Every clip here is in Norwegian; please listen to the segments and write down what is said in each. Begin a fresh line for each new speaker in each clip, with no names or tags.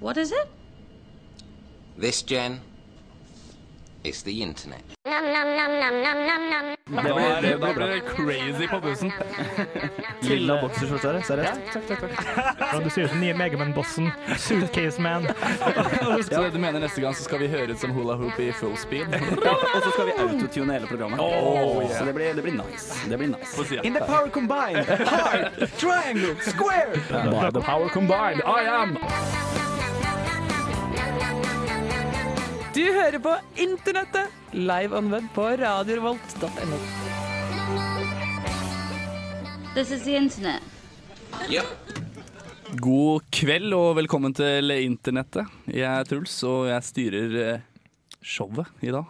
What is it?
This, Jen, is the internet.
Da blir det, da blir det er crazy på bussen.
Lilla bokserskjorte her, seriøst?
Takk, takk, takk.
Ja, Du ser ut som nye Megaman-bossen. Suitcase Man.
Så det du mener neste gang så skal vi høre ut som hula hoop i full speed?
Og så skal vi autotune hele programmet. Så det blir, det blir nice. Det blir nice.
På siden.
In the power combined, heart, triangle, square.
By the power combined, I am
Du hører på Internettet, live on web på radiorevolt.no.
This is the internet.
Yep.
God kveld og velkommen til internettet. Jeg er Truls, og jeg styrer eh, showet i dag.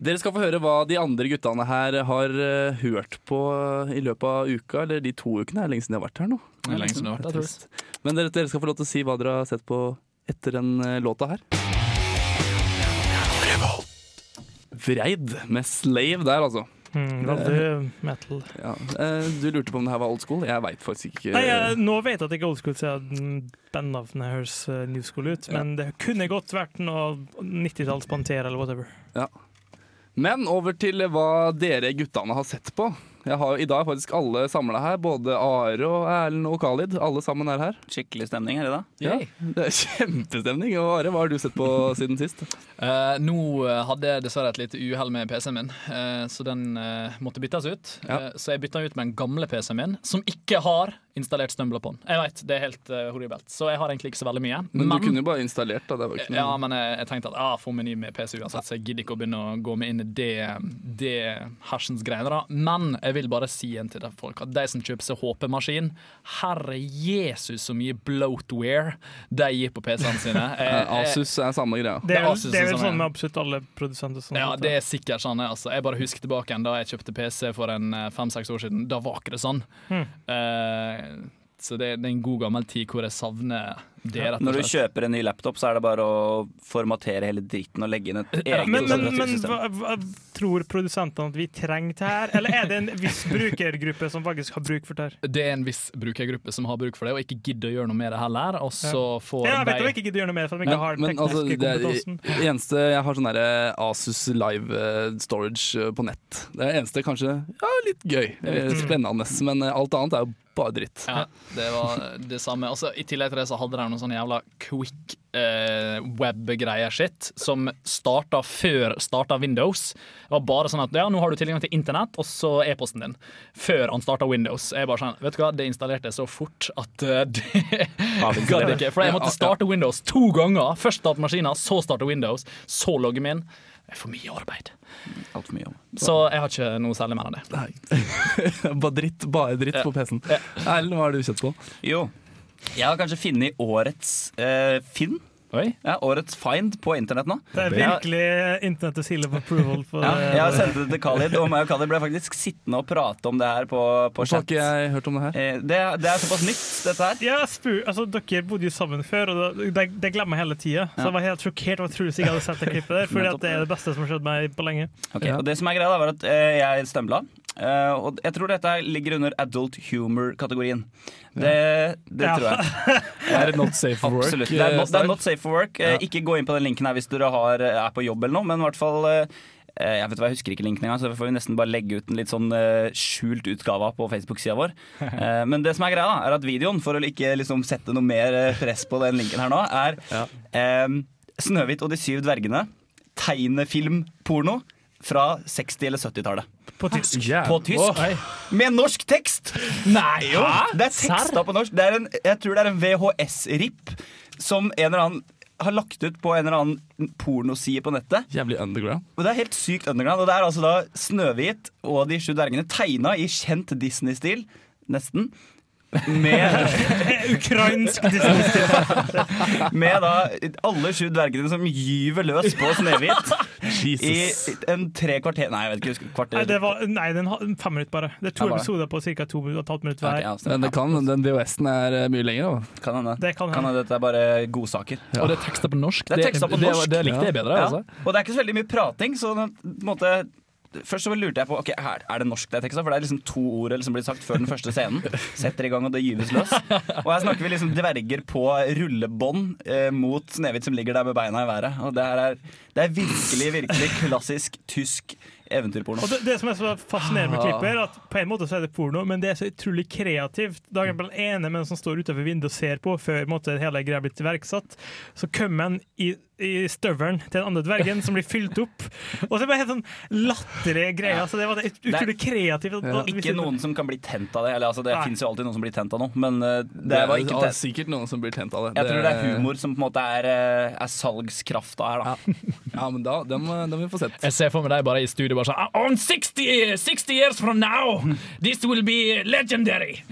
Dere skal få høre hva de andre guttene her har eh, hørt på eh, i løpet av uka, eller de to ukene. Det er lenge siden jeg har vært her nå.
Det er lenge siden du har vært
Det
der,
er
Truls.
trist. Men dere, dere skal få lov til å si hva dere har sett på etter den eh, låta her. Vreid med Slave der, altså.
Mm, veldig metal.
Ja. eh, Du lurte på om det her var old school? Jeg veit faktisk ikke.
Nei, jeg, nå vet jeg at ikke old school siden bandnavnet høres eh, new school ut, men det kunne godt vært noe 90-talls Pantera eller whatever.
Men over til hva dere guttene har sett på. Jeg har jo i dag faktisk alle samla her. Både Are og Erlend og Khalid. Alle sammen er her.
Skikkelig stemning her i dag.
Ja,
Yay.
det er kjempestemning. Og Are, hva har du sett på siden sist?
Eh, nå eh, hadde jeg dessverre et lite uhell med PC-en min, eh, så den eh, måtte byttes ut.
Ja.
Eh, så jeg bytta den ut med den gamle PC-en min, som ikke har installert Stumble upon. Jeg vet, det er helt eh, horribelt, så jeg har egentlig ikke så veldig mye.
Men, du kunne jo bare installert, da. Det var jo ikke noe.
ja, men jeg, jeg tenkte at ah, få meny med PC uansett, så jeg gidder ikke å begynne å gå med inn i det, det hersens greiene. da. Men jeg vil bare si en til de folk at de som kjøper seg HP-maskin Herre Jesus, så mye bloatware de gir på PC-ene sine.
Eh,
Jeg- jeg-
Asus er samme greia.
Det
Det
er,
er
vel-
Asus
det er vel
som er-
sånn med absolutt alle produsenter. Sånn
Ja,
sett,
det er sikkert sånn. det, Altså. Jeg bare husker tilbake igjen da jeg kjøpte PC for en eh, fem-seks år siden. Da var ikke det sånn.
Hmm.
Eh, så det, det er en god gammel tid hvor jeg savner det, rett og
Når du
slett.
kjøper en ny laptop, så er det bare å formatere hele dritten og legge inn et eget
Men, men, men
operativsystem.
hva, hva tror produsentene at vi trenger det her, eller er det en viss brukergruppe som faktisk har bruk for det her?
Det er en viss brukergruppe som har bruk for det, og ikke gidder å gjøre noe med det heller. Og så får
Ja, jeg vet
de
at vi ikke gidder gjøre noe mer for at vi
Men,
ikke har den
men altså,
tekniske
det er,
kompetansen.
eneste jeg har sånn derre Asus live eh, storage eh, på nett. Det er det eneste kanskje ja, litt gøy, eh, spennende, men eh, alt annet er jo bare dritt.
Ja, det var det samme. Og så I tillegg til det så hadde de noen sånne jævla quick eh, web-greier sitt, som starta før starta Windows. Det var bare sånn at ja, nå har du tilgang til internett, og så e-posten din. Før han starta Windows. Jeg bare sånn, vet du hva, det installerte jeg så fort at eh, det gadd ikke. For jeg måtte starte Windows to ganger. Først starte maskinen, så starte Windows, så logge meg inn. Det er for mye arbeid.
Alt for mye om.
Så jeg har ikke noe særlig mer enn det.
bare dritt, bare dritt på PC-en. Erlend, hva har du kjent på?
Jo. Jeg har kanskje funnet årets eh, Finn.
Oi.
Ja, årets find på internett nå.
Det er virkelig internettets seal of approval. For,
Ja, jeg sendte det til Khalid, og meg og Khalid ble faktisk sittende og prate om det her på, på
Har
chat.
ikke jeg hørt om det her?
Eh, Det, det er såpass nytt, dette her.
Ja, spu, altså, dere bodde jo sammen før, og det, det- det glemmer jeg hele tida. Så jeg var helt sjokkert over at Truls ikke hadde sett det klippet der. Fordi at det er det beste som har skjedd meg på lenge.
Ok, Og det som er greia, da, var at eh, jeg stømla. Eh, og jeg tror dette her ligger under adult humor-kategorien. Det, det
Ja.
tror jeg.
Er det not safe for work?
Absolutt. Det er, not, det
eh,
er not safe for work. Eh, Ikke gå inn på den linken her hvis dere har, eh, er på jobb eller noe, men i hvert fall eh, jeg vet hva, jeg husker ikke linken engang, så får vi nesten bare legge ut en litt sånn eh, skjult utgave på Facebook-sida vår. Eh, men det som er greia, da, er at videoen, for å ikke liksom sette noe mer eh, press på den linken her nå, er eh, 'Snøhvit og de syv dvergene'. Tegnefilmporno fra 60- eller 70-tallet.
På tysk.
jævlig.
På tysk.
Åh, hei.
Med norsk tekst! Nei jo! Det er teksta på norsk. Det er en, jeg tror det er en VHS-rip som en eller annen har lagt ut på en eller annen pornoside på nettet.
Jævlig underground.
Og Det er helt sykt underground. Og det er altså da Snøhvit og de sju dvergene tegna i kjent Disney-stil. Nesten. Med,
Ukrainsk disney
med da alle sju dvergene som gyver løs på Snøhvit i
Jesus.
en tre kvarter Nei, jeg vet ikke. husker- Kvarter.
Nei, det var, nei, den har fem minutter bare. Det er to
Ja, bare.
episoder på ca. to minutter og et halvt minutt
Ok,
hver.
ja, stemmer.
Men det kan, den VHS-en er eh, mye lenger. da.
kan hende.
Det kan
Kan
hende.
hende dette er bare godsaker.
Og det er tekster på norsk.
Det er tekster på norsk.
Det, det likte jeg bedre.
Ja.
altså
Og det er ikke så veldig mye prating, så den- på en måte først så lurte jeg på ok, her, Er det norsk det er teksta? For det er liksom to ord som blir sagt før den første scenen. Setter i gang, og det gyves løs. Og her snakker vi liksom dverger på rullebånd eh, mot Snehvit som ligger der med beina i været. Og det her er, det er virkelig, virkelig klassisk tysk eventyrporno.
Og det, det som er så fascinerende med klippet, er at på en måte så er det porno, men det er så utrolig kreativt. Da er den ene med den som står utenfor vinduet og ser på, før på en måte, hele greia blir iverksatt, så kommer han i i støvelen til den andre dvergen, som blir fylt opp. Og så er det bare helt sånn latterlige greier. Altså, det var det ut- utrolig kreativt. at- at vi
Ikke
sitter-
noen som kan bli tent av det. Eller, altså, det
Nei.
fins jo alltid noen som blir tent av noe, men eh, det
Det
var
er
ikke
ja,
tent.
sikkert noen som blir tent av det.
Jeg tror det er humor som på en måte er, eh, er salgskrafta her, da.
Ja, men da, den, må- den vil vi få sett.
Jeg ser for meg deg bare i studio bare sånn On 60, 60 years from now, this will be legendary!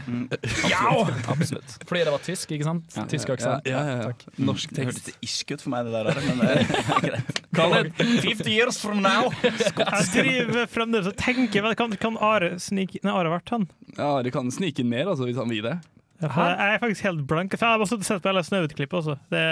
Ja!
Absolutt.
Fordi det var tysk, ikke sant? Tysk aksent. Mm.
Ja, ja, ja. Norsk
Det
tekst.
hørtes irsk ut for meg, det der. Men det er greit.
Khaled.
50 years from now!
Jeg driver fremdeles og tenker hva- Kan, kan Are snike Nei, Are har vært han.
Ja, det kan snike ned altså, hvis han vil det.
Jeg er faktisk helt blank. For jeg har også sett på hele Snøhvit-klippet også. Det,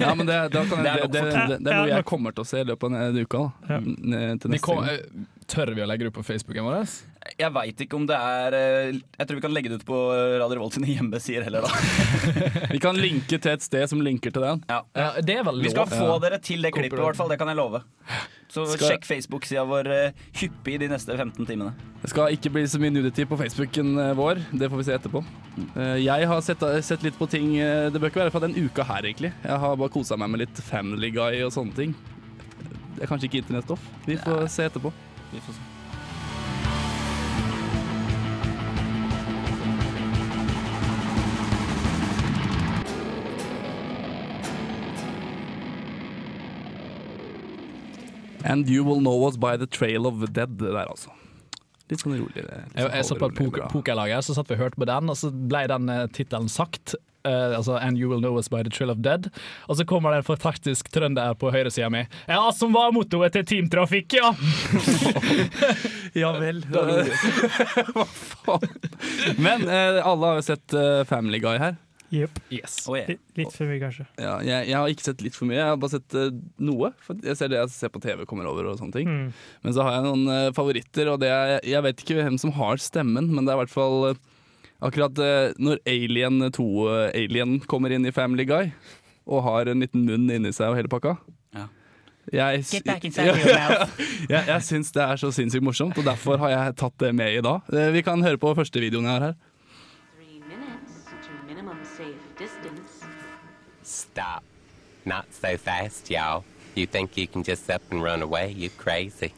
Ja, men det, da kan
Det er
jeg,
nok
det, det,
for-
det, det er noe
Ja,
jeg
nok.
kommer til å se i løpet av denne uka. Da.
Ja.
N- Til
Vi
neste
kom,
gang.
eh, tør vi å legge det ut på Facebooken vår?
Jeg veit ikke om det er eh, Jeg tror vi kan legge det ut på Radio Revolt sine hjemmesider heller, da.
Vi kan linke til et sted som linker til den.
Ja, det er vel
Vi skal
lov.
få dere til det klippet, i hvert fall. Det kan jeg love. Så
Skal-
sjekk Facebook-sida vår eh, hyppig de neste 15 timene.
Det skal ikke bli så mye nudity på Facebooken eh, vår. Det får vi se etterpå. Eh, Jeg har sett, sett litt på ting eh, Det bør ikke være fra den uka her, egentlig. Jeg har bare kosa meg med litt Family Guy og sånne ting. Det er kanskje ikke internettstoff. Vi får se etterpå.
Vi får se.
And you will know us by the trail of the dead der, altså. Litt sånn rolig. det er litt
Jeg,
sånn
jeg satt på et
halvrolig
poker-
bra.
pokerlag her, så satt vi og hørte på den, og så ble den eh, tittelen sagt. eh, altså, And you will know us by the trill of dead. Og så kommer det en fantastisk trønder på høyresida mi. Ja, som var mottoet til Team Trafikk, ja!
Ja vel. Hva faen? Men eh, alle har jo sett eh, Family Guy her.
Jep.
Yes.
Oh, yeah.
Litt- Litt for mye, kanskje.
Ja, jeg, jeg har ikke sett litt for mye, jeg har bare sett eh, noe. For jeg ser det jeg ser på TV kommer over og sånne ting.
Mm.
Men så har jeg noen eh, favoritter, og det er, jeg vet ikke hvem som har stemmen, men det er i hvert fall eh, akkurat eh, når Alien 2 eh, Alien kommer inn i Family Guy og har en liten munn inni seg og hele pakka.
Ja.
Jeg, s- jeg, jeg syns det er så sinnssykt morsomt, og derfor har jeg tatt det med i dag. Eh, Vi kan høre på første videoen jeg har her.
Three minutes to minimum safe distance.
Stop. Not so fast, y'all. You think you can just up and run away? You crazy.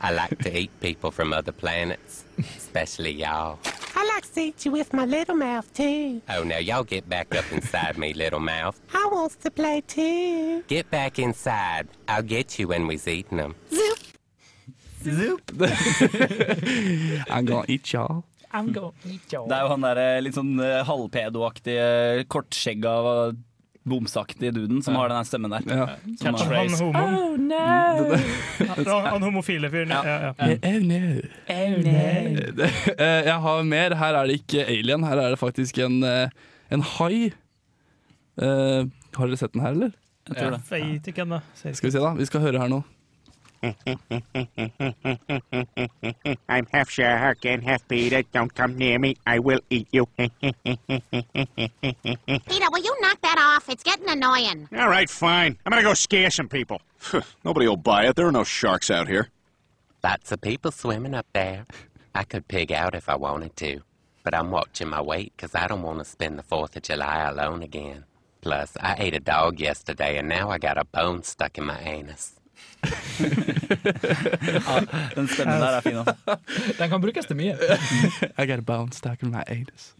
I like to eat people from other planets, especially y'all.
I like to eat you with my little mouth too.
Oh, now y'all get back up inside me, little mouth.
I wants to play too.
Get back inside. I'll get you when we's eating 'em.
I'm gonna eat y'all.
Det er jo han der eh, litt sånn eh, halvpedoaktige, eh, kortskjegga, eh, bomsaktige duden som har den der stemmen der.
Ja.
Som har-
Han homoen. Han, han homofile fyren. Ja, ja. ja.
Oh no. Eh, Jeg har mer. Her er det ikke alien, her er det faktisk en, eh, en hai. Eh, har dere sett den her, eller?
Jeg tror det.
Veit ikke ennå. Ser ikke.
Skal vi se, da. Vi skal høre her nå.
I'm half shark and half Peter. Don't come near me. I will eat you.
Peter, will you knock that off? It's getting annoying.
All right, fine. I'm gonna go scare some people.
Nobody will buy it. There are no sharks out here.
Lots of people swimming up there. I could pig out if I wanted to, but I'm watching my weight 'cause I don't want to spend the 4th of July alone again. Plus, I ate a dog yesterday and now I got a bone stuck in my anus.
Den stemmen der er fin. altså.
Den kan brukes til mye.
I got a bounce back in my anus.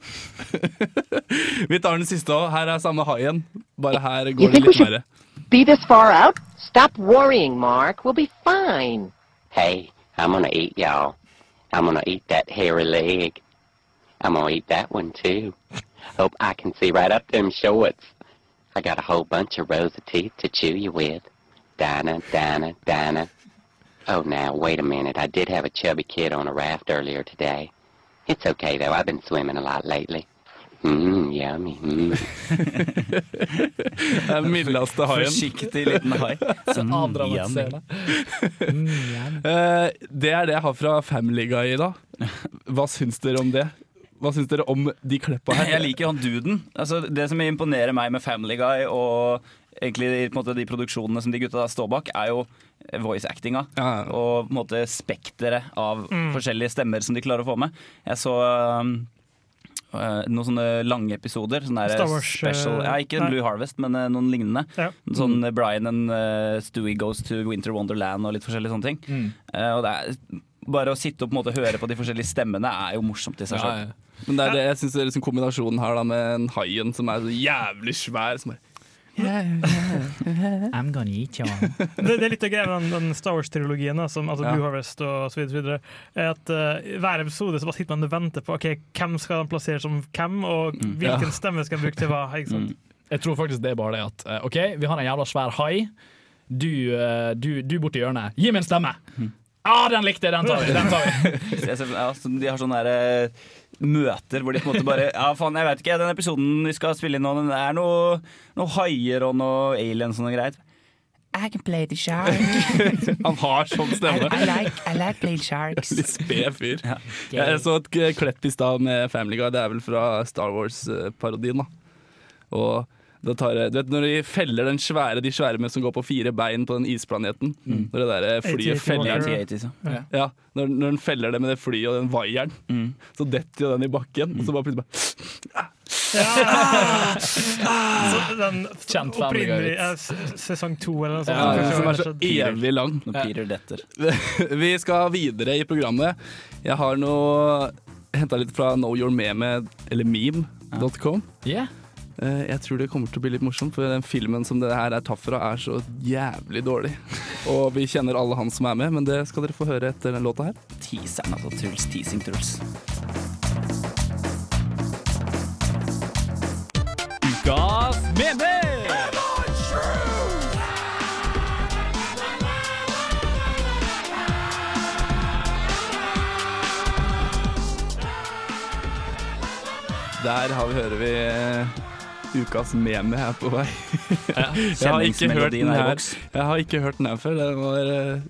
vi tar den siste òg. Her er samme haien, bare her går det litt verre.
Be this far out? Stop worrying, Mark. We'll be fine.
Hey, I'm gonna eat y'all. I'm gonna eat that hairy leg. I'm gonna eat that one too. Hope I can see right up them shorts. I got a whole bunch of rows of teeth to chew you with. Dinah, Dinah, Dinah. Oh, now, wait a minute. I did have a chubby kid on a raft earlier today. It's okay, though. I've been swimming a lot lately. Mm, yummy. Mm.
Den mildeste haien.
Forsiktig liten hai.
Så
Mm,
avdramatiserende.
Eh, det er det jeg har fra Family Guy i dag. Hva syns dere om det? Hva syns dere om de kleppa her?
Jeg liker han duden. Altså, det som imponerer meg med Family Guy og egentlig på en måte, de produksjonene som de gutta der står bak, er jo voice actinga. Og på en måte spekteret av
Mm.
forskjellige stemmer som de klarer å få med. Jeg så um, eh, noen sånne lange episoder. Sånne der
Star Wars,
special,
eh,
ja, ikke
nei.
Blue Harvest, men eh, noen lignende.
Ja.
Sånn
Mm.
eh, Brian and eh, Stewie Goes to Winter Wonderland og litt forskjellige sånne ting.
Mm.
Eh, og det er, bare å sitte og på en måte høre på de forskjellige stemmene er jo morsomt i seg
Ja,
sjøl.
ja. Men det er det, jeg synes det er liksom kombinasjonen her da, med en haien som er så jævlig svær. Som bare,
I'm gonna eat you.
det, det er litt av greia med den, den Star Wars-trilogien, da, som- altså
Ja.
Blue Harvest og så videre, så videre er at eh, hver episode så bare sitter man og venter på Ok, hvem skal de plassere som hvem, og
Mm.
Ja.
hvilken stemme skal de bruke til hva. Ikke sant?
Jeg tror faktisk det er bare det at eh, OK, vi har en jævla svær hai. Du, eh, du, du borti hjørnet, gi meg en stemme!
Mm.
ah, den likte jeg! Den tar vi! Den tar vi.
Så jeg ser- ja, så de har sånne der, eh, møter hvor de på en måte bare Ja, faen, jeg vet ikke. Den episoden vi skal spille inn nå, den er noe, noe haier og noe aliens og noe greit. I can play the shark.
han har sånn stemme.
I like playing sharks.
Litt sped fyr. Jeg så et k- eh, klepp i stad med Family Guy, det er vel fra Star Wars-parodien. da. Og da tar, jeg- du vet Når de feller den svære, de svære med som går på fire bein på den isplaneten
Mm.
Når det der eh, flyet
80,
feller
80, ja.
ja. når, når den feller det med det flyet og den vaieren, så detter jo den i bakken. Og så bare plutselig bare
Så den
Kjent Family
opprinnelige
Guy-vits.
eh, s- sesong to eller noe sånt.
Ja,
første
som
gang
er så
det skjedde.
evig lang.
Når Peter detter.
Vi skal videre i programmet. Jeg har noe henta litt fra knowyourmeme, eller meme.com.
Yeah.
Eh, Jeg tror det kommer til å bli litt morsomt, for den filmen som det her er tatt fra, er så jævlig dårlig. Og vi kjenner alle han som er med, men det skal dere få høre etter den låta her.
Teaseren, altså. Truls. Teasing Truls.
Ukas meme!
Der har vi, hører vi eh, ukas meme her på vei. Jeg har ikke hørt
Kjenningsmelodien
den
er i
her,
boks.
jeg har ikke hørt den her før. Det var eh,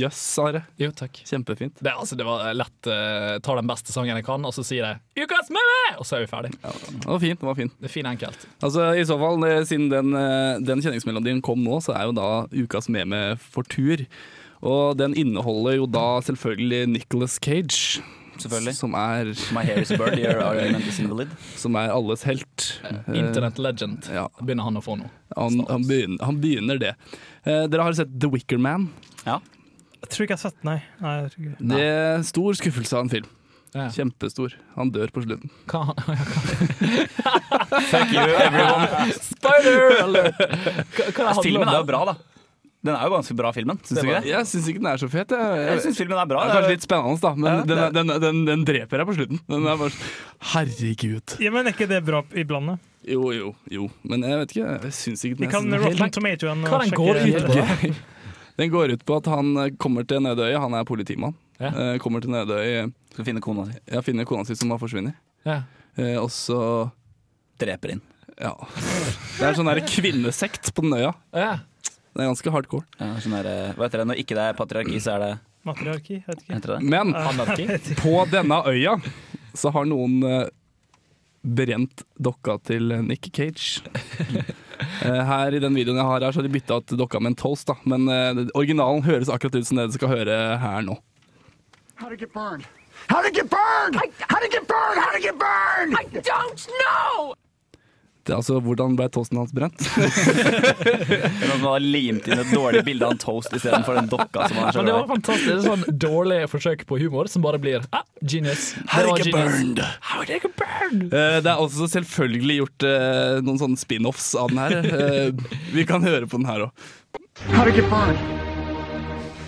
Jøss, Are.
Jo, takk.
Kjempefint.
Det, altså, det var lett. eh, tar den beste sangen jeg kan, og så sier jeg 'Ukas meme!' Og så er vi ferdig.
Den var fin. Den var fin.
Det er fin enkelt.
Altså, I så fall, eh, siden den, eh, den kjenningsmelodien kom nå, så er jo da ukas meme for tur. Og den inneholder jo da selvfølgelig Nicholas Cage.
Selvfølgelig.
Som er
My hair is a bird, your argument is invalid.
Som er alles helt.
Internet legend
Eh, ja.
begynner han å få nå.
Han, han, begynner, han begynner det. Eh, dere har sett The Wicker Man.
Jeg tror ikke jeg har sett den, nei. nei jeg tror ikke.
Det er stor skuffelse av en film.
Ja.
Kjempestor. Han dør på slutten.
Hva
Fuck you, everyone.
Spider alert!
Altså, filmen er jo bra, da. Den er jo ganske bra, filmen. Syns du ikke det?
Jeg syns ikke den er så fet. Jeg,
Jeg syns filmen er bra.
Det er kanskje litt spennende, da, men den, er- den, den, den dreper deg på slutten. Den er bare så- Herregud.
Ja, men er ikke det bra iblant? da?
Jo, jo, jo. Men jeg vet ikke. Jeg syns ikke
Vi
den er
kan
sånn
Rotten
helt-
Tomatoen
Hva den går ut på?
Gøy. Den går ut på at han eh, kommer til Nødøy. Han er politimann.
Ja.
Eh, Kommer til Nødøy
Skal finne kona si.
Ja, finner kona si som har forsvunnet.
Ja.
Eh, Og så
Dreper inn.
Ja. Det er en sånn der kvinnesekt på den øya.
Ja.
Det er ganske hardcore.
Ja, sånn der, eh, hva heter det, når ikke det er patriarki, så er det
Matriarki, vet ikke.
Heter det det?
Men
Anarki?
på denne øya så har noen eh, brent dokka til Nick Cage. Eh, Her i den videoen jeg har her, så har de bytta ut dokka med en toast, da. Men eh, originalen høres akkurat ut som det du skal høre her nå.
How to get burned? How to get burned? how to get burned? How to get burned? I don't know.
Det er altså hvordan ble toasten hans brent?
Det er Noen som har limt inn et dårlig bilde av en toast istedenfor den dokka som han
Men det var
sjøl
fantastisk. Det er sånn dårlig forsøk på humor som bare blir ah, genius. Det var
Herregud,
genius.
burned.
Herregud, burned!
Eh, Det er også selvfølgelig gjort eh, noen sånne spin-offs av den her. Eh, Vi kan høre på den her òg.
How to get burned?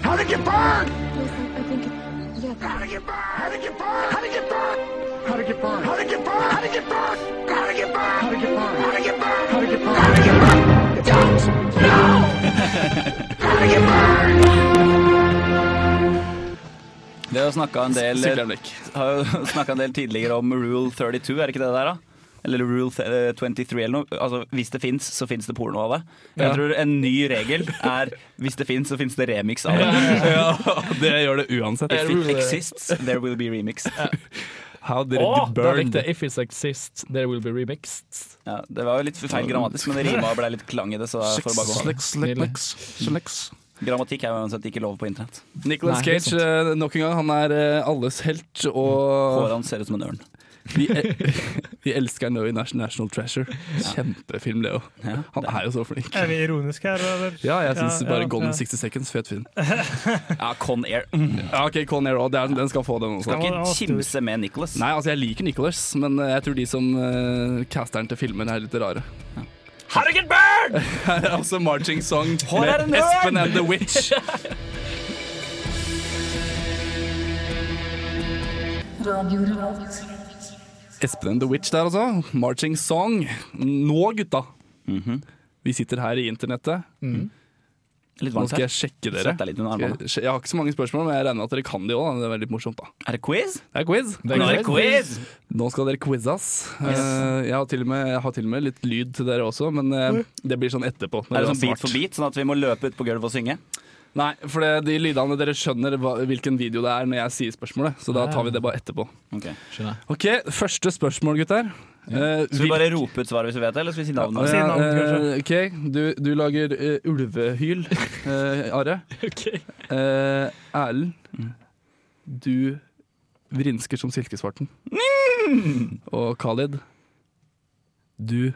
How to get burned? How to get burned? How to get burned? How to get burned? How to get burned? How to get burned? How to get burned? How to get burned? How to get burned? How to get burned? How to get burned? How to get burned? Don't know. How to get burned?
Vi har snakka en del
Sykler en blikk.
har jo snakket en del tidligere om Rule 32, er det ikke det der, da? Eller Rule th- eh, 23 eller noe. Altså, hvis det fins, så fins det porno av det.
Ja.
Jeg tror en ny regel er hvis det fins, så fins det remix av det.
det gjør det uansett.
If it exists, there will be remix.
How did
Å,
it
da
burn?
likte jeg If it exists, there will be remixed.
Ja, det var jo litt feil grammatisk, men det rima og ble litt klang i det. Så jeg får bare gå.
Slicks, slicks, slicks, slicks.
Grammatikk er jo uansett ikke lov på internett.
Nicolas
Nei,
Cage, eh, nok en gang, han er eh, alles helt,
Håret
og
hans ser ut som en ørn.
vi, el vi elsker Noe National Treasure. Kjempefilm, Leo. Han er jo så flink.
Er vi ironiske her, eller?
Ja, jeg syns bare
ja,
Golden
ja.
60 Seconds, fet film.
Ja, Con Air.
Ja, ok, Con Air også. Det er- Den skal få den også.
Skal Mm. ikke kimse med Nicholas.
Nei, altså jeg liker Nicholas, men eh, jeg tror de som uh, caster den til filmen er litt rare.
Harrigan Bird!
Her er også Marching Song
Hår er en
med Espen
ørn!
and the Witch.
Radio Revolt.
Espen and the Witch der altså. Marching Song. Nå, gutta.
Mhm.
Vi sitter her i internettet.
Litt
Nå
varmt
skal
her.
jeg sjekke dere.
Svett deg litt under
Skal jeg-
armene.
Jeg har ikke så mange spørsmål, men jeg regner med at dere kan de òg. Det er veldig morsomt, da.
Er det quiz?
Det er quiz.
er Nå er det quiz. quiz.
Nå skal dere quizes.
Yes.
Eh, Jeg, har til og med, jeg har til og med litt lyd til dere også, men eh, det blir sånn etterpå. når
Er
dere
det
har
sånn beat
svart.
for beat, sånn at vi må løpe ut på gulvet og synge?
Nei, for det, de lydene dere skjønner hva, hvilken video det er når jeg sier spørsmålet, så da tar vi det bare etterpå.
Ok.
Ok, første spørsmål, gutter. Eh,
Skal vi bare rope ut svaret hvis vi vet det, eller skal vi si
hvil-
navnet?
Eh, eh, ok, du, du lager eh, ulvehyl, eh, Are. Eh, Erlend, du vrinsker som silkesvarten.
Mm!
Og Khalid, du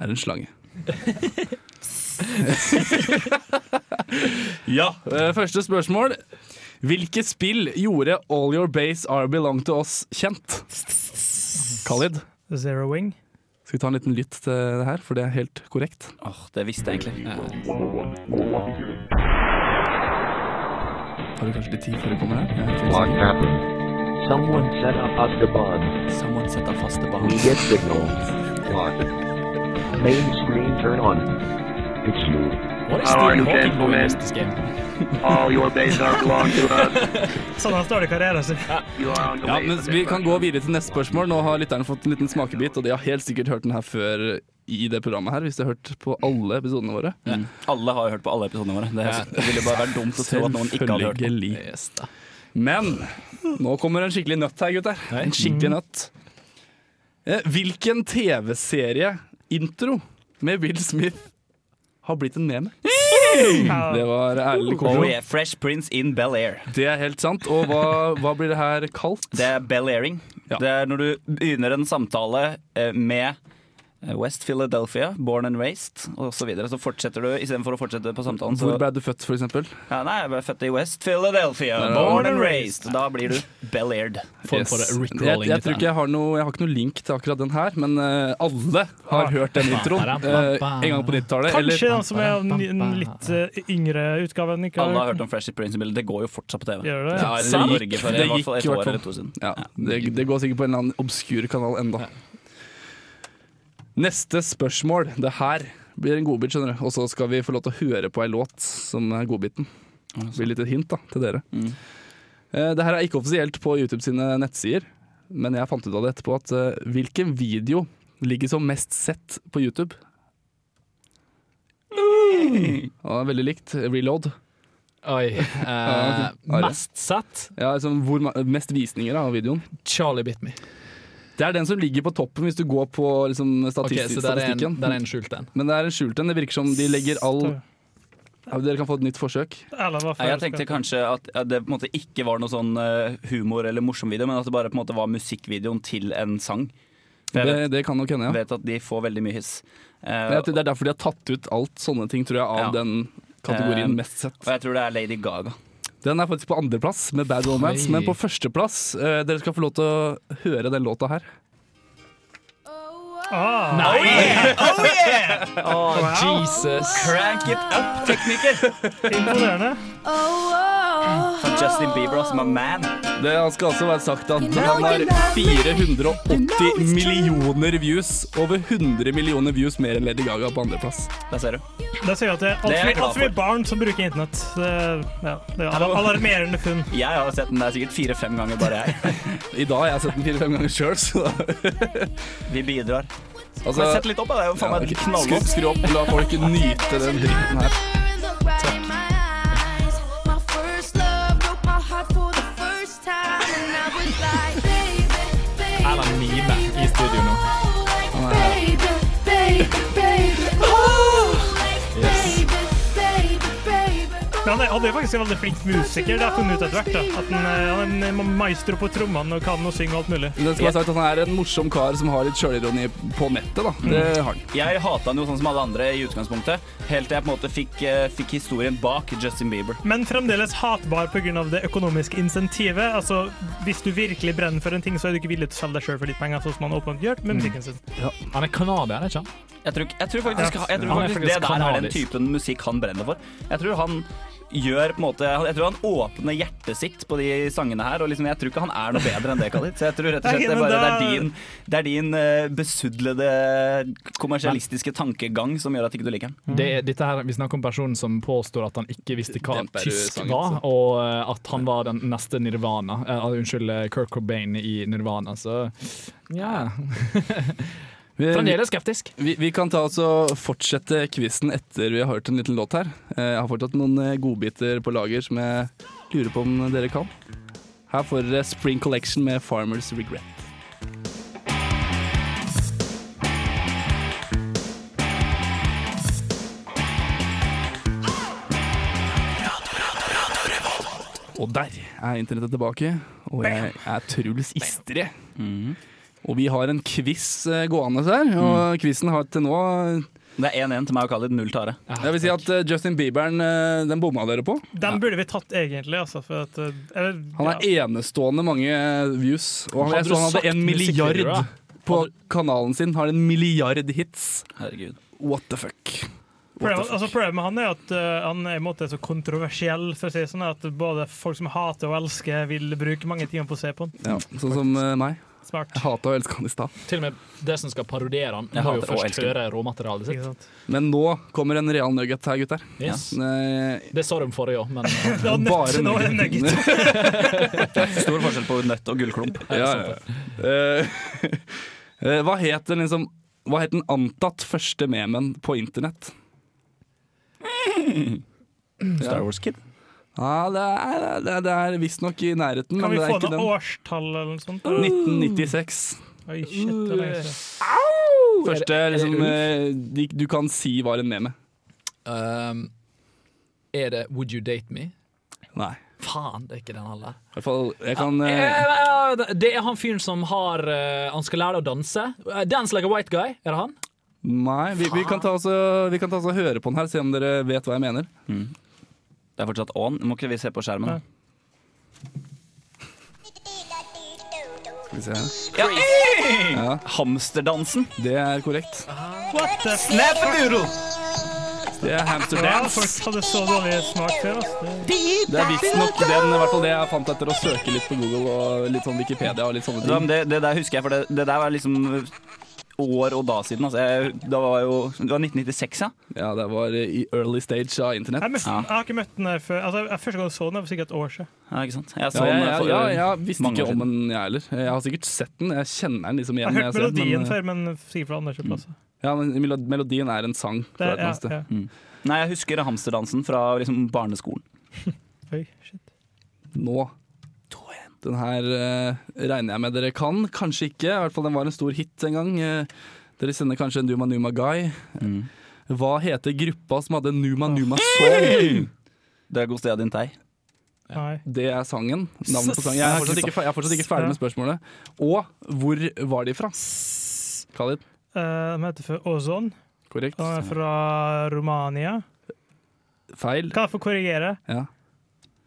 er en slange.
ja.
Eh, Første spørsmål. Hvilke spill gjorde All Your Base Are Belong To Us kjent? Khalid,
Zero Wing.
skal vi ta en liten lytt til det her, for det er helt korrekt.
Åh, det visste jeg egentlig.
Tar du kanskje litt tid før det kommer her? Jeg er ikke
What
helt sikker.
happened? Someone set up Azkaban.
Someone set up Azkaban.
We get signal. Lock. Main screen turn on. It's you.
What is Stephen Hawking doing in this game?
All your base are belong to us.
Sånn han starter karrieren sin.
Ja, men Vi kan gå videre til neste spørsmål. Nå har lytterne fått en liten smakebit, og de har helt sikkert hørt den her før i det programmet her, hvis de har hørt på alle episodene våre.
Mm. Alle har jo hørt på alle episodene våre. Det er- det ville bare vært dumt å tro at noen ikke hadde hørt på.
Selvfølgelig. Men nå kommer en skikkelig nøtt her, gutter. En skikkelig nøtt. Eh, Hvilken TV-serie-intro med Will Smith har blitt en meme? Det var ærlig
Oh
koro.
yeah, Fresh Prince in Bel-Air.
Det er helt sant. Og hva, hva blir det her kalt?
Det er Bel-Airing. Det er når du begynner en samtale eh, med eh, West Philadelphia, born and raised, og så videre. Så fortsetter du, istedenfor å fortsette på samtalen, så
Hvor ble du født, for eksempel?
ja, Nei, jeg ble født i West Philadelphia,
Ja.
born and raised. Da blir du Bel-Aired.
Yes. Jeg, jeg tror ikke jeg har noe Jeg har ikke noe link til akkurat den her, men eh, alle har hørt den introen eh, en gang på 90-tallet.
Kanskje
eller-
den som er av den- den litt eh, yngre utgaven. Ikke
Alle har hørt om Fresh Prince in Bel-Air. Det går jo fortsatt på TV.
Gjør det?
Ja, eller i Norge for i hvert fall et
i
år
hvert fall.
eller to siden.
Ja, det, det går sikkert på en eller annen obskur kanal enda. Neste spørsmål. Det her blir en godbit, skjønner du. Og så skal vi få lov til å høre på ei låt som er Mm. godbiten. Det blir litt et hint da, til dere. Eh, Det her er ikke offisielt på YouTube sine nettsider, men jeg fant ut av det etterpå at eh, hvilken video ligger som mest sett på YouTube? Ja, veldig likt. Reload.
Oi. Eh,
Ja, ok. Are.
mest sett
Ja, liksom hvor ma- mest visninger da, av videoen.
Charlie Bit Me.
Det er den som ligger på toppen hvis du går på liksom,
Ok,
statistisk,
så der er en,
statistikken.
der er en skjult en.
Men det er en skjult en. Det virker som de legger all ja, Dere kan få et nytt forsøk.
Erlend var
Nei, Jeg tenkte kanskje at at det på en måte ikke var noe sånn eh, humor eller morsom video, men at det bare på en måte var musikkvideoen til en sang. For jeg
Det, det kan nok hende, ja.
vet, vet at de får veldig mye hiss. Eh,
Men jeg tror Det er derfor de har tatt ut alt sånne ting, tror jeg, av
Ja.
den kategorien
Eh,
mest sett.
og jeg tror det er Lady Gaga.
Den er faktisk på andreplass med Bad Romance,
Oi.
men på førsteplass eh, Dere skal få lov til å høre den låta her.
Oh yeah!
Jesus.
Crank it up, tekniker!
Imponerende.
For Justin Bieber, altså, my man.
Det skal altså være sagt at
know
han har
you love me.
480 millioner views. Over 100 millioner views mer enn Lady Gaga på andreplass.
Der ser du.
Da sier vi at det er
Det er jeg
altfor
glad
alt for mye barn som bruker internett. Det, ja, det er al- alarmerende funn.
Jeg har sett den der sikkert fire-fem ganger, bare jeg.
I dag har jeg sett den fire-fem ganger sjøl, så
Vi bidrar. Men sett litt opp, da. Det er jo faen meg
ok.
knallgodt.
Skru, skru opp, la folk nyte den dritten her.
Her er det mime i studio nå.
Men han er, han er faktisk en veldig flink musiker. Det har jeg funnet ut etter hvert. da. At han, er- han er en maestro på trommene og kan å synge og alt mulig.
Men Det skal være sagt at Han er en morsom kar som har litt sjølironi på nettet. da. Det har han.
Jeg hata han jo sånn som alle andre i utgangspunktet, helt til jeg på en måte fikk, eh, fikk historien bak Justin Bieber.
Men fremdeles hatbar pga. det økonomiske insentivet. Altså, Hvis du virkelig brenner for en ting, så er du ikke villig til å selge deg sjøl for litt penger, sånn som han åpenbart gjør med musikken sin.
Han er canadier, ikke sant?
Jeg tror, jeg tror faktisk,
Ja.
jeg tror
Han er
faktisk
faktisk
det der er den
kanadisk.
typen musikk han brenner for. Jeg tror han gjør på en måte Jeg tror han åpner hjertet sitt på de sangene her, og liksom, jeg tror ikke han er noe bedre enn det, Khalid. Så jeg tror rett og slett
Ok,
det er
men
bare det er
da-
din, det er din eh, besudlede kommersialistiske tankegang som gjør at ikke du liker ham.
Det, er- dette her, vi snakker om personen som påstår at han ikke visste hva
Demper du
tysk
sangen,
var,
så?
og eh, at han var den neste Nirvana. Eh, al- unnskyld, eh, Kurt Cobain i Nirvana, så ja. Fremdeles skeptisk.
Vi, vi kan ta oss og fortsette quizen etter vi har hørt en liten låt her. Eh, Jeg har fortsatt noen eh, godbiter på lager som jeg lurer på om dere kan. Her får dere Spring Collection med Farmers Regret. Og der er internettet tilbake, og jeg er Truls Istre. Og vi har en quiz eh, gående her, og quizen har til nå
Det er 1-1 til meg og Khalid, null tare.
Jeg vil si at eh, Justin Bieberen, eh, den bomma dere på.
Den burde vi tatt egentlig, altså. For at, eh, eller,
Han har enestående mange eh, views, og han,
Hadde
jeg
du
så han hadde
sagt
en milliard
musikkvideoer,
på kanalen sin. Har en milliard hits.
Herregud.
What the fuck. What the
Problemet,
fuck?
altså problemet med han er at eh, han er i en måte så kontroversiell. for å si det sånn At Både folk som hater og elsker, vil bruke mange timer på å se på han.
Ja, sånn som eh, meg.
Smart.
Jeg hata å elske han i stad.
Til og med det som skal parodiere han,
Jeg
må jo
hater å
først
elske
høre råmaterialet sitt.
Men nå kommer en real nugget her, gutter.
Yes.
Eh,
Det sa de forrige òg, men eh,
var nøtt, Bare nå er det nugget.
Stor forskjell på nøtt og gullklump.
Ja, ja. Eh, eh, hva het den liksom Hva het den antatt første memen på internett?
Star Wars Kid.
Ja, det er, det er, det er visstnok i nærheten,
Kan
men
vi
det er
få
ikke
noe
den.
årstall eller noe sånt?
1996.
Oi, shit, det er lenge siden.
Uh,
Første liksom, eh, de, du kan si var en meme.
Um, er det 'Would you date me'?
Nei.
Faen, det er ikke den heller.
I hvert fall, jeg kan eh,
Eh, eh, Det er han fyren som har eh, Han skal lære deg å danse. Eh, Dance like a white guy, er det han?
Nei, vi, vi kan ta oss og- vi kan ta oss og høre på den her, se om dere vet hva jeg mener.
Det er fortsatt on. Må ikke vi se på skjermen? da?
Skal vi se her.
Ja, hey!
Ja.
Hamsterdansen.
Det er korrekt.
What the
Snapadoodle!
Det er hamster
Ja,
dance.
folk hadde så dårlig smak før. Altså.
Det er visstnok den, i hvert fall det jeg fant etter å søke litt på Google og litt sånn Wikipedia og litt sånne
Ja, men
ting.
det, det der husker jeg, for det, det der var liksom år og da siden. Altså. Jeg, da var jo, det var 1996, ja.
Ja, det var i early stage av internett.
Jeg, møtte, jeg har ikke møtt den her før. Altså, jeg, første gang jeg så den, var sikkert et år siden.
ja ikke sant? Jeg
Ja,
så
jeg,
den
jeg,
for
ja, jeg visste
mange
ikke
år
om
siden.
den, jeg heller. Jeg har sikkert sett den. Jeg kjenner den liksom
Jeg
igjen.
har
når jeg
hørt
ser den,
melodien
men-
før, men sikkert fra andre plasser.
Ja, men melo- melodien er en sang.
Det
fra et
er-
eller annet
ja,
sted. Mm.
ja.
Nei, jeg husker hamsterdansen fra liksom, barneskolen.
Oi, shit.
Nå. Den her eh, regner jeg med dere kan, kanskje ikke. I hvert fall den var en stor hit en gang. Eh, dere kjenner kanskje Numa Numa Guy. Hva heter gruppa som hadde Numa Numa Song?
Det er Gostea din tei.
Nei.
Det er sangen. Navnet på sangen. Jeg er fortsatt ikke, fe- jeg er fortsatt ikke ferdig med spørsmålet. Og hvor var de fra? Khalid,
Eh, den heter for Ozon.
korrekt?
Den er fra Romania.
Feil?
Kan jeg få korrigere?
Ja.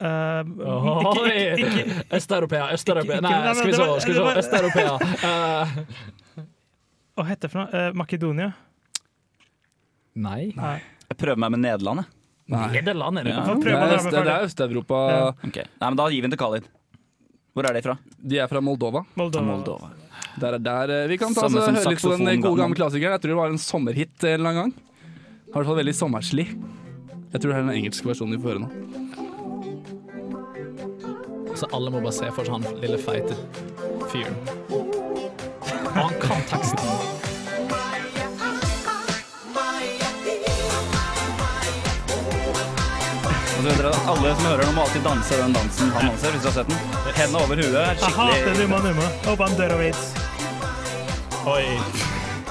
Eh, ikke,
Oi!
ikke, ikke,
Østeuropea, Østeuropea. Nei,
ikke- nei,
skal vi
men
se,
det var-
skal vi
det
se.
var-
Østeuropea. Eh,
Hva heter det for noe? Eh, Makedonia?
nei.
Nei.
Jeg prøver meg med Nederland, jeg.
Nei.
Nederland er det.
Ja.
Få
Det er,
prøve å dra meg
det
ferdig.
er Øst-Europa.
Ja.
Ok. Nei, men da gir vi den til Khalid. Hvor er de fra?
De er fra Moldova.
Moldova.
Der er der eh, Vi kan ta oss
Samme
og
som
høre litt på den
saksofongaten.
gode gamle klassikeren. Jeg tror det var en sommerhit eh, en eller annen gang. I hvert fall veldig sommerslig. Jeg tror det er den engelske versjonen vi får høre nå.
Så alle må bare se for seg han lille feite fyren. Og han kan teksten.
Og så vet dere Altså, at Alle som hører den, må alltid danse den dansen han danser, hvis dere har sett den. Hendene over huet.
Jeg hater
Skikkelig
Dumma Numma. Håper han dør av aids.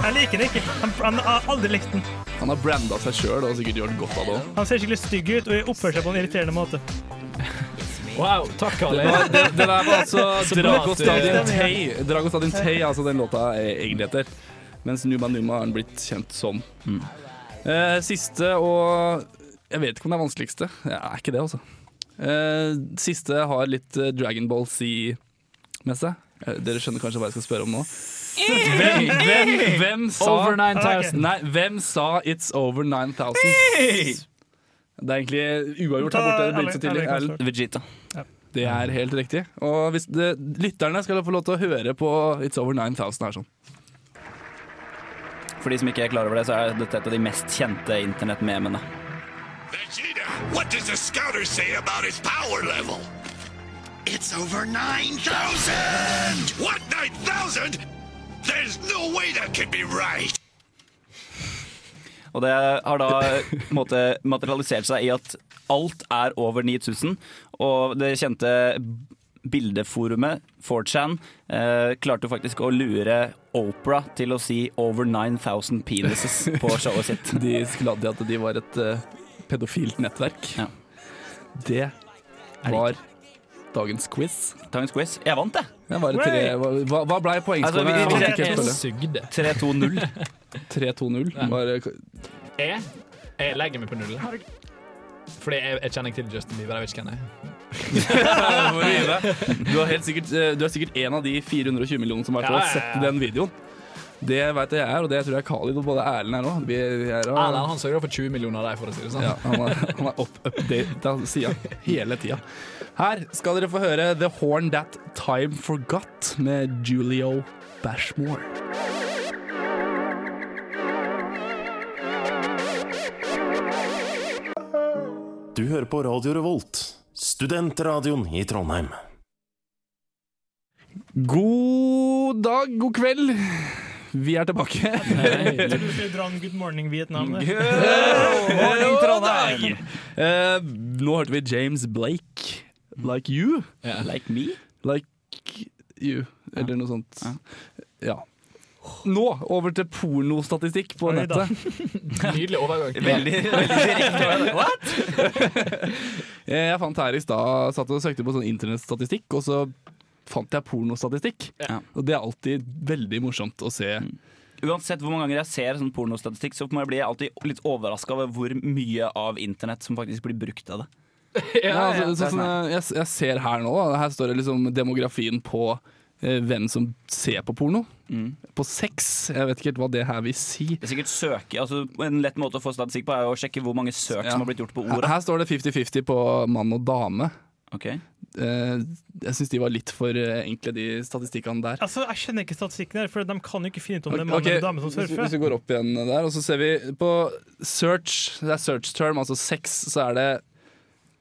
Jeg liker den ikke. Han, han har aldri likt den.
Han har branda seg sjøl og sikkert gjort godt av det òg.
Han ser skikkelig stygg ut og oppfører seg på en irriterende måte.
Wow, takk,
Det, var- det, det der var altså
Så bra at du-
Dragostadin Tay. Dragostadin Tay, altså den låta eh, egentlig heter. Mens Numa Numa har den blitt kjent som.
Mm.
Eh, siste og Jeg vet ikke om det er vanskeligste. Det er ikke det, altså. Eh, siste har litt eh, Dragon Ball Z med seg. Eh, dere skjønner kanskje hva jeg skal spørre om nå. Hvem, hvem, hvem sa
Over 9000.
Nei, hvem sa It's over 9000? Det er egentlig uavgjort her borte. Det blir ikke så tidlig. Erlend.
Vegeta.
Det er helt riktig. Og hvis det, lytterne skal få lov til å høre på It's Over 9000 her sånn.
For de som ikke er klar over det, så er dette et av de mest kjente internettmemene.
What does the scouter say about his power level? It's over 9,000! What, 9,000? There's no way that could be right!
Og det har da på en måte, materialisert seg i at alt er over 9000. Og det kjente bildeforumet 4chan eh, klarte faktisk å lure Opera til å si 'over 9000 penises' på showet sitt.
De gladde at de var et eh, pedofilt nettverk. Det var dagens quiz.
Dagens quiz. Jeg vant, jeg.
Det var tre, hva, hva ble
Altså, vi-
poengskåren?
vi-
Jeg fikk helt følge.
Sugde.
3-2-0.
3-2-0.
Bare-
Jeg, jeg legger meg på null. Fordi jeg, jeg kjenner ikke til Justin Bieber. Jeg vet ikke hvem jeg er.
Hvor mye det er. Du er, helt sikkert, eh, du er sikkert en av de 420 millionene som har
Ja, ja, ja.
sett den videoen. Det vet jeg jeg er, og det tror jeg Khalid og både Erlend er nå. Vi er,
Erlend han sørger for 20 millioner av deg, for å si det sånn.
Ja, han er, han er opp, updata sida hele tida. Her skal dere få høre The Horn That Time Forgot med Julio Bashmore.
Du hører på Radio Revolt, studentradioen i Trondheim.
God dag, god kveld. Vi er tilbake.
Jeg tror du skulle dra en Good Morning Vietnam. der.
morning, Trondheim! Eh, nå hørte vi James Blake, 'Like You'.
Like me?
Like you, eller noe sånt. Ja. Nå over til pornostatistikk på
Oi da.
nettet.
Nydelig overgang.
Veldig- veldig direkte. Eh, Jeg fant her i stad Satt og søkte på sånn internettstatistikk, og så fant jeg pornostatistikk. Og det er alltid veldig morsomt å se.
Uansett hvor mange ganger jeg ser sånn pornostatistikk, så må jeg bli alltid litt overraska over hvor mye av internett som faktisk blir brukt av det.
Ja, altså, så, sånn, eh, jeg, jeg ser her nå, da. her står det liksom demografien på eh, hvem som ser på porno.
Mm.
På sex. Jeg vet ikke helt hva det her vil si.
Det er sikkert søke, altså En lett måte å få statistikk på er jo å sjekke hvor mange søk som har blitt gjort på
Her,
ordet.
her står det 50-50 på mann og dame.
Ok.
Eh, jeg syns de var litt for eh, enkle, de statistikkene der.
Altså, Jeg skjønner ikke statistikken her, for de kan jo ikke finne ut om det er mann
Ok,
eller dame som
hvis-
surfer.
Hvis vi går opp igjen der, og så ser vi på search, det er search term, altså sex, så er det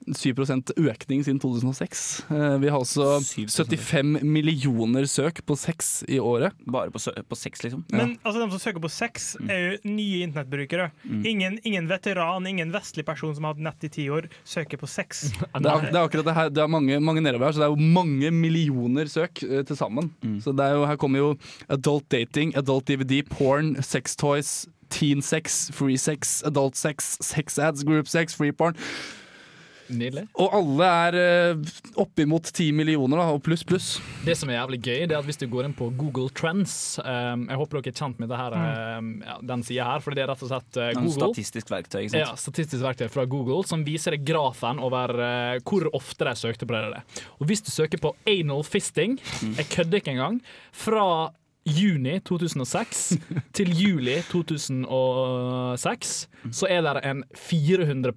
7 økning siden 2006. Eh, Vi har også 75 millioner søk på sex i året.
Bare på, sø- på sex, liksom?
Men altså, de som søker på sex, er jo nye internettbrukere.
Mm.
Ingen, ingen veteran, ingen vestlig person som har hatt nett i ti år, søker på sex.
Det er, det er akkurat det her, det er mange, mange nedover her, så det er jo mange millioner søk eh, til sammen. Så det er jo, her kommer jo adult dating, adult DVD, porn, sex toys, teen sex, free sex, adult sex, sex ads, group sex, free porn.
Nydelig.
Og alle er eh, oppimot ti millioner, da, og pluss, pluss.
Det som er jævlig gøy, det er at hvis du går inn på Google Trends um, Jeg håper dere er kjent med det her, um,
Mm.
ja, den sida her, for det er rett og slett uh,
Noen
Google.
statistisk verktøy, ikke sant?
Ja, statistisk verktøy fra Google som viser deg grafen over eh, hvor ofte de søkte på det. der. Og hvis du søker på anal fisting, jeg kødder ikke engang, fra juni 2006 til juli 2006, så er det en 400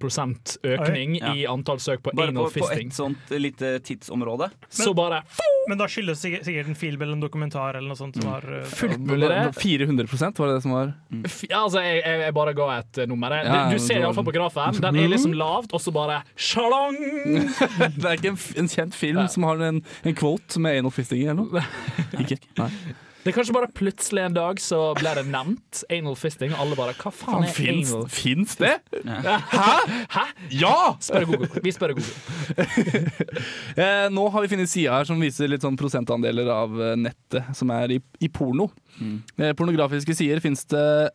Oi.
økning i antall søk på
Bare
anal
på, på
fisting.
et sånt lite tidsområde.
Så bare
Men da skyldes det sikkert- sikkert en film eller en dokumentar eller noe sånt
Mm.
som har eh,
Fullt mulig det.
400 var det det som var
F- Ja, altså, jeg, jeg, jeg bare ga et eh, nummer.
Ja,
Du, du ser
det var-
iallfall på grafen. Den er liksom lavt, og så bare sjalang!
Det er ikke en, f- en kjent film som har en, en quote med anal fisting i, eller noe? Ikke? Nei.
Det er kanskje bare plutselig en dag så ble det nevnt anal fisting, og alle bare Hva
Faen,
faen er
fins,
anal
fins det?
Hæ? Hæ?
Ja!
Spør Google. Vi spør Google.
Eh, nå har vi funnet sida her som viser litt sånn prosentandeler av eh, nettet som er i, i porno. Eh, pornografiske sider fins det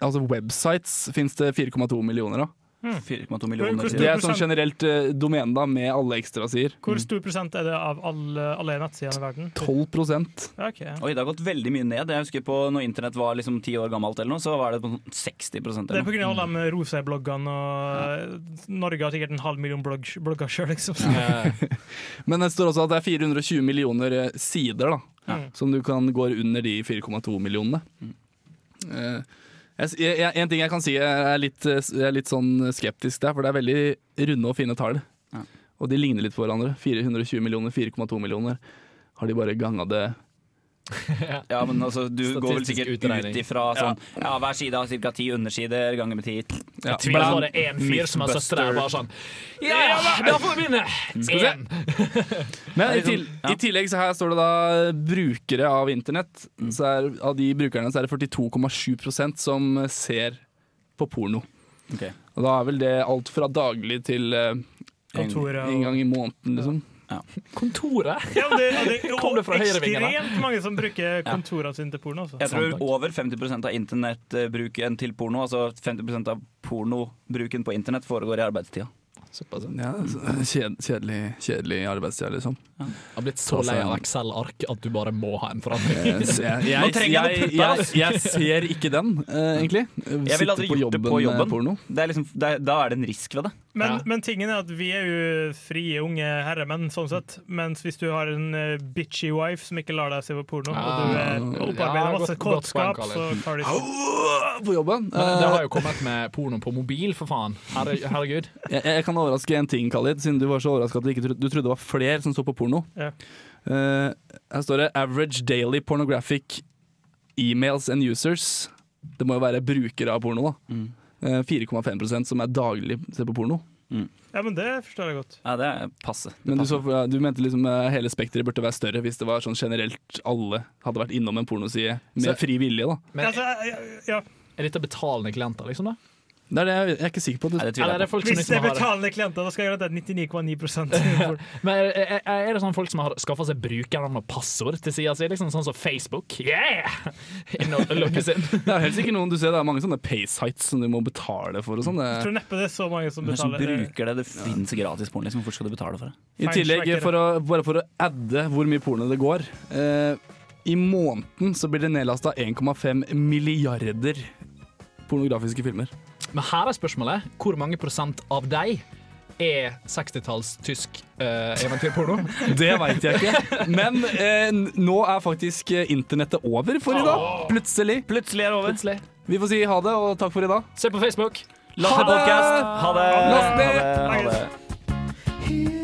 Altså websites fins det 4,2 millioner av.
4,2
Men
millioner.
hvor stor
Det er sånn
prosent-
generelt eh, domene, da, med alle ekstrasider.
Hvor
Mm.
stor prosent er det av alle, alle nettsidene i verden?
12
Ja, ok.
Oi, det har gått veldig mye ned. Jeg husker på når internett var liksom ti år gammelt, eller noe, så var det på sånn 60
Det er
eller noe.
pga. alle de rosebloggene, og eh, Norge har sikkert en halv million blogg, blogger sjøl, liksom.
Eh,
Men det står også at det er 420 millioner eh, sider, da.
Ja.
Som du kan gå under de 4,2 millionene. Eh, jeg, jeg, en ting jeg kan si jeg er litt, eh, s- jeg er litt sånn skeptisk der, for det er veldig runde og fine tall. Og de ligner litt på hverandre. 420 millioner, 4,2 millioner. Har de bare ganga det
Ja, men altså, du går vel sikkert ut
utregning.
ifra sånn ja. hver side har ca. ti undersider ganger med ti.
Ja.
Jeg tviler på det er en fyr som er søstera og bare sånn Ja, ja, da får vi begynne!
Skal vi se.
En.
Men i, til, sånn, i tillegg så her står det da eh, brukere av internett. Så er, av de brukerne så er det 42,7 som eh, ser på porno.
Ok.
Og da er vel det alt fra daglig til eh, en,
Kontoret og-
en gang i måneden, liksom.
Kontoret?
Ja, men det, ja, det er
Kom det fra høyrevingen, da?
ekstremt mange som bruker kontorene sine til porno. Altså.
Jeg tror over 50 av internettbruken til porno, altså 50 av pornobruken på internett, foregår i arbeidstida.
Ja, så- kjed, kjedelig, kjedelig arbeidstid, liksom.
Jeg har blitt så lei av Excel-ark at du bare må ha en forandring.
Jeg, jeg,
Nå
jeg,
trenger jeg noe
jeg,
putt,
jeg,
ass.
ser ikke den, eh, egentlig.
Jeg ville aldri gjort det på
med
jobben.
eh, Porno.
Det er liksom, det er, da er det en risk ved det.
Men, men tingen er at vi er jo frie unge herremenn, sånn sett. Mens hvis du har en eh, bitchy wife som ikke lar deg se på porno, og du er opparbeider
Ah, Ja,
masse
godt- godt poeng,
kåtskap,
Kalle.
så tar de
På jobben.
Men det har jo kommet med porno på mobil, for faen. Herre, herregud.
Jeg, jeg kan overraske en ting, Khalid, siden du var så overraska at du, ikke trodde, du trodde det var flere som så på porno.
Ja.
Eh, her står det 'Average daily pornographic emails and users'. Det må jo være brukere av porno, da. Eh, 4,5 som er daglig ser på porno.
Ja, men det forstår jeg godt.
Ja, det er passe.
Men du, så, ja, du mente liksom eh, hele spekteret burde være større hvis det var sånn generelt alle hadde vært innom en pornoside med
Så-
fri vilje, da.
Men
Altså, ja.
er dette betalende klienter, liksom? da?
Det er det jeg, jeg er ikke sikker på.
det tviler jeg Eller er det på. folk som
Hvis
liksom
det er
har-
betalende klienter, da skal jeg garantere 99,9
Men er, er, er det sånn folk som har skaffa seg brukernavn og passord til sida si? Liksom sånn som Facebook? Yeah! Inn og logges inn.
Det er helt sikkert noen du ser, det er mange sånne paysites som du må betale for og sånn.
Jeg
Det-
tror neppe det er så mange som
Men som
betaler.
bruker det, det fins gratis porno. Liksom, hvorfor skal du betale for det?
eh, I tillegg, for å, bare for å adde hvor mye porno det går eh, I måneden så blir det nedlasta 1,5 milliarder pornografiske filmer.
Men her er spørsmålet. Hvor mange prosent av deg er 60-talls tysk eh, eventyrporno?
Det veit jeg ikke. Men eh, n- nå er faktisk eh, internettet over for i dag. Plutselig.
Plutselig er det over.
Plutselig.
Vi får si ha det, og takk for i dag.
Se på Facebook.
Last podcast. Ha det.
Last ned.
Ha det. Ha det.
Hus